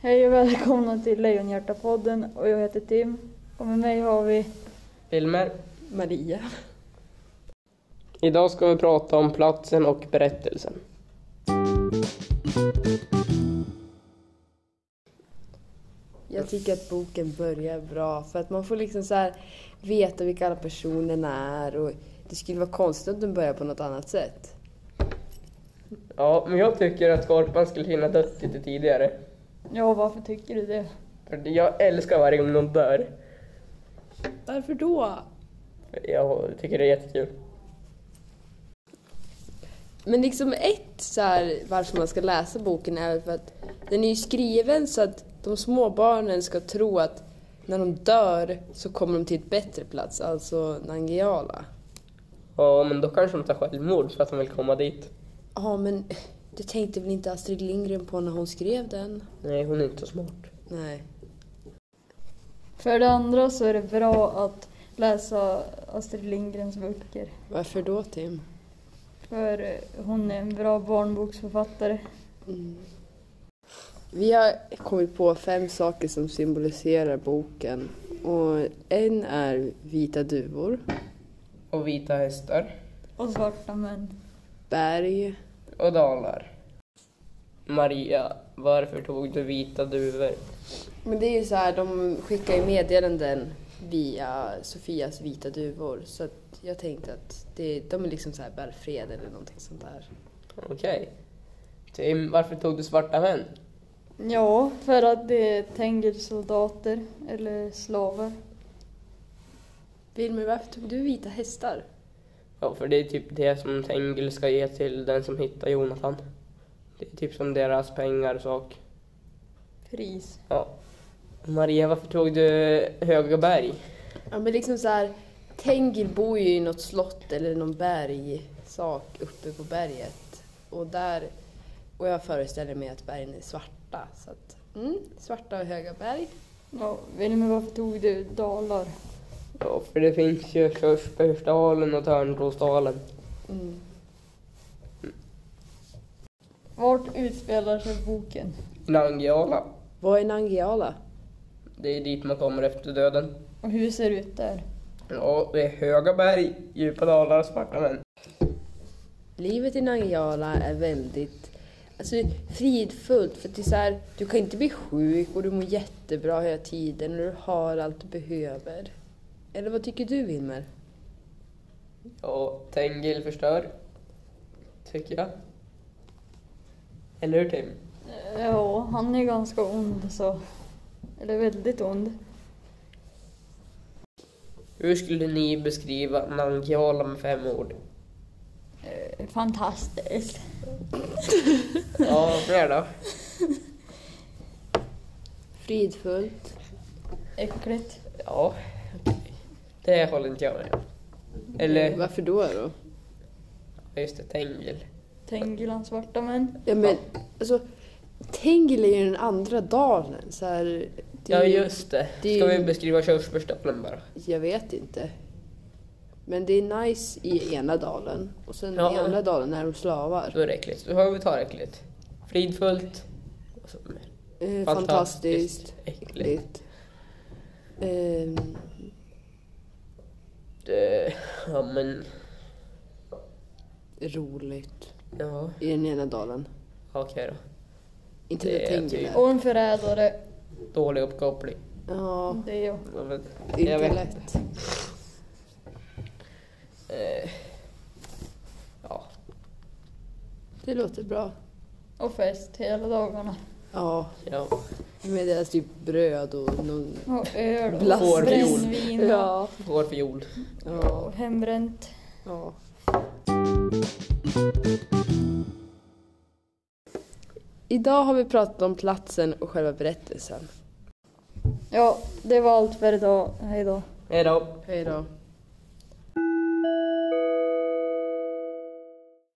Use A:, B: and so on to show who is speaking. A: Hej och välkomna till Lejonhjärta-podden och jag heter Tim. Och med mig har vi...
B: Filmer.
C: Maria.
B: Idag ska vi prata om platsen och berättelsen.
C: Jag tycker att boken börjar bra för att man får liksom så här veta vilka alla personerna är och det skulle vara konstigt om den börjar på något annat sätt.
B: Ja, men jag tycker att Skorpan skulle hinna dött lite tidigare.
A: Ja, varför tycker du det?
B: För jag älskar varje gång någon dör.
C: Varför då?
B: Jag tycker det är jättekul.
C: Men liksom ett så här, varför man ska läsa boken är för att den är ju skriven så att de små barnen ska tro att när de dör så kommer de till ett bättre plats, alltså Nangiala.
B: Ja, men då kanske de tar självmord för att de vill komma dit.
C: Ja, men det tänkte väl inte Astrid Lindgren på när hon skrev den?
B: Nej, hon är inte så smart.
C: Nej.
A: För det andra så är det bra att läsa Astrid Lindgrens böcker.
C: Varför då, Tim?
A: För eh, hon är en bra barnboksförfattare.
C: Vi har kommit på fem saker som symboliserar boken. Och en är vita duvor,
B: Och vita hästar.
A: Och svarta män.
C: berg.
B: Och dalar. Maria, varför tog du vita duvor?
C: Men det är ju så här, de skickar ju meddelanden via Sofias vita duvor. Så att jag tänkte att det, de är liksom så här bär fred eller någonting sånt där.
B: Okej. Tim, varför tog du svarta män?
A: Ja, för att det är tengelsoldater, eller slavar.
C: Wilmer, varför tog du vita hästar?
B: Ja, för det är typ det som Tengil ska ge till den som hittar Jonathan. Det är typ som deras pengar och sak.
A: Pris.
B: Ja. Maria, varför tog du Höga berg?
C: Ja men liksom så här, Tengil bor ju i något slott eller någon bergsak uppe på berget. Och där, och jag föreställer mig att bergen är svarta. Så att, mm, svarta och höga berg.
A: Ja, Wilmer, varför tog du dalar?
B: Ja, för det finns ju Körsbärsdalen och Törnrosdalen.
C: Mm.
A: Vart utspelar sig boken?
B: Nangiala,
C: Vad är Nangiala?
B: det är dit man kommer efter döden.
A: Och hur ser det ut där?
B: Ja, det är höga berg, djupa dalar och svarta män.
C: Livet i Nangiala är väldigt alltså, fridfullt. För att det är så här, du kan inte bli sjuk och du mår jättebra hela tiden och du har allt du behöver. Eller vad tycker du Wilmer?
B: Ja, Tengil förstör. Tycker jag. Eller hur Tim?
A: Eh, Ja, han är ganska ond så. Eller väldigt ond.
B: Hur skulle ni beskriva Nangiala med fem ord?
A: Eh, Fantastiskt.
B: Ja, mer då?
C: Fridfullt.
A: Äckligt.
B: Ja, okej. det håller inte jag med om. Eller,
C: Varför då då?
B: just det, Tengil.
A: Tänker han svarta män.
C: Ja men alltså, Tengil är ju den andra dalen. Så här, det är
B: Ja,
C: ju-
B: just det.
C: det-
B: Ska vi beskriva körsbärsdalen bara?
C: Jag vet inte. Men det är nice i ena dalen och sen
B: Ja.
C: i andra dalen är de slavar.
B: Då är det äckligt. Då har vi tar äckligt. Fridfullt. Och så mer.
C: Eh, fantastiskt.
B: Äckligt.
C: äckligt. Ehm,
B: Eh, Ja, men...
C: roligt
B: Ja,
C: i den ena dalen.
B: okej då.
C: Inte
B: Det
C: det
B: är
C: Tengil
B: typ-
C: är.
A: Och en förrädare.
B: Dålig uppkoppling.
C: Ja,
A: Det är jag.
B: Ja, men- Jag
C: inte
B: vet.
C: lätt.
B: Eh, ja.
C: Det låter bra.
A: Och fest hela dagarna.
C: Ja,
B: ja.
C: med deras typ bröd och någon...
A: Och öl och
C: Blast.
B: Fårfiol.
A: brännvin. och-
C: Ja.
B: Vår fiol.
C: ja,
A: Och hembränt.
C: ja. Idag har vi pratat om platsen och själva berättelsen.
A: Ja, det var allt för idag. Hej då.
B: Hej då.
C: Hej då.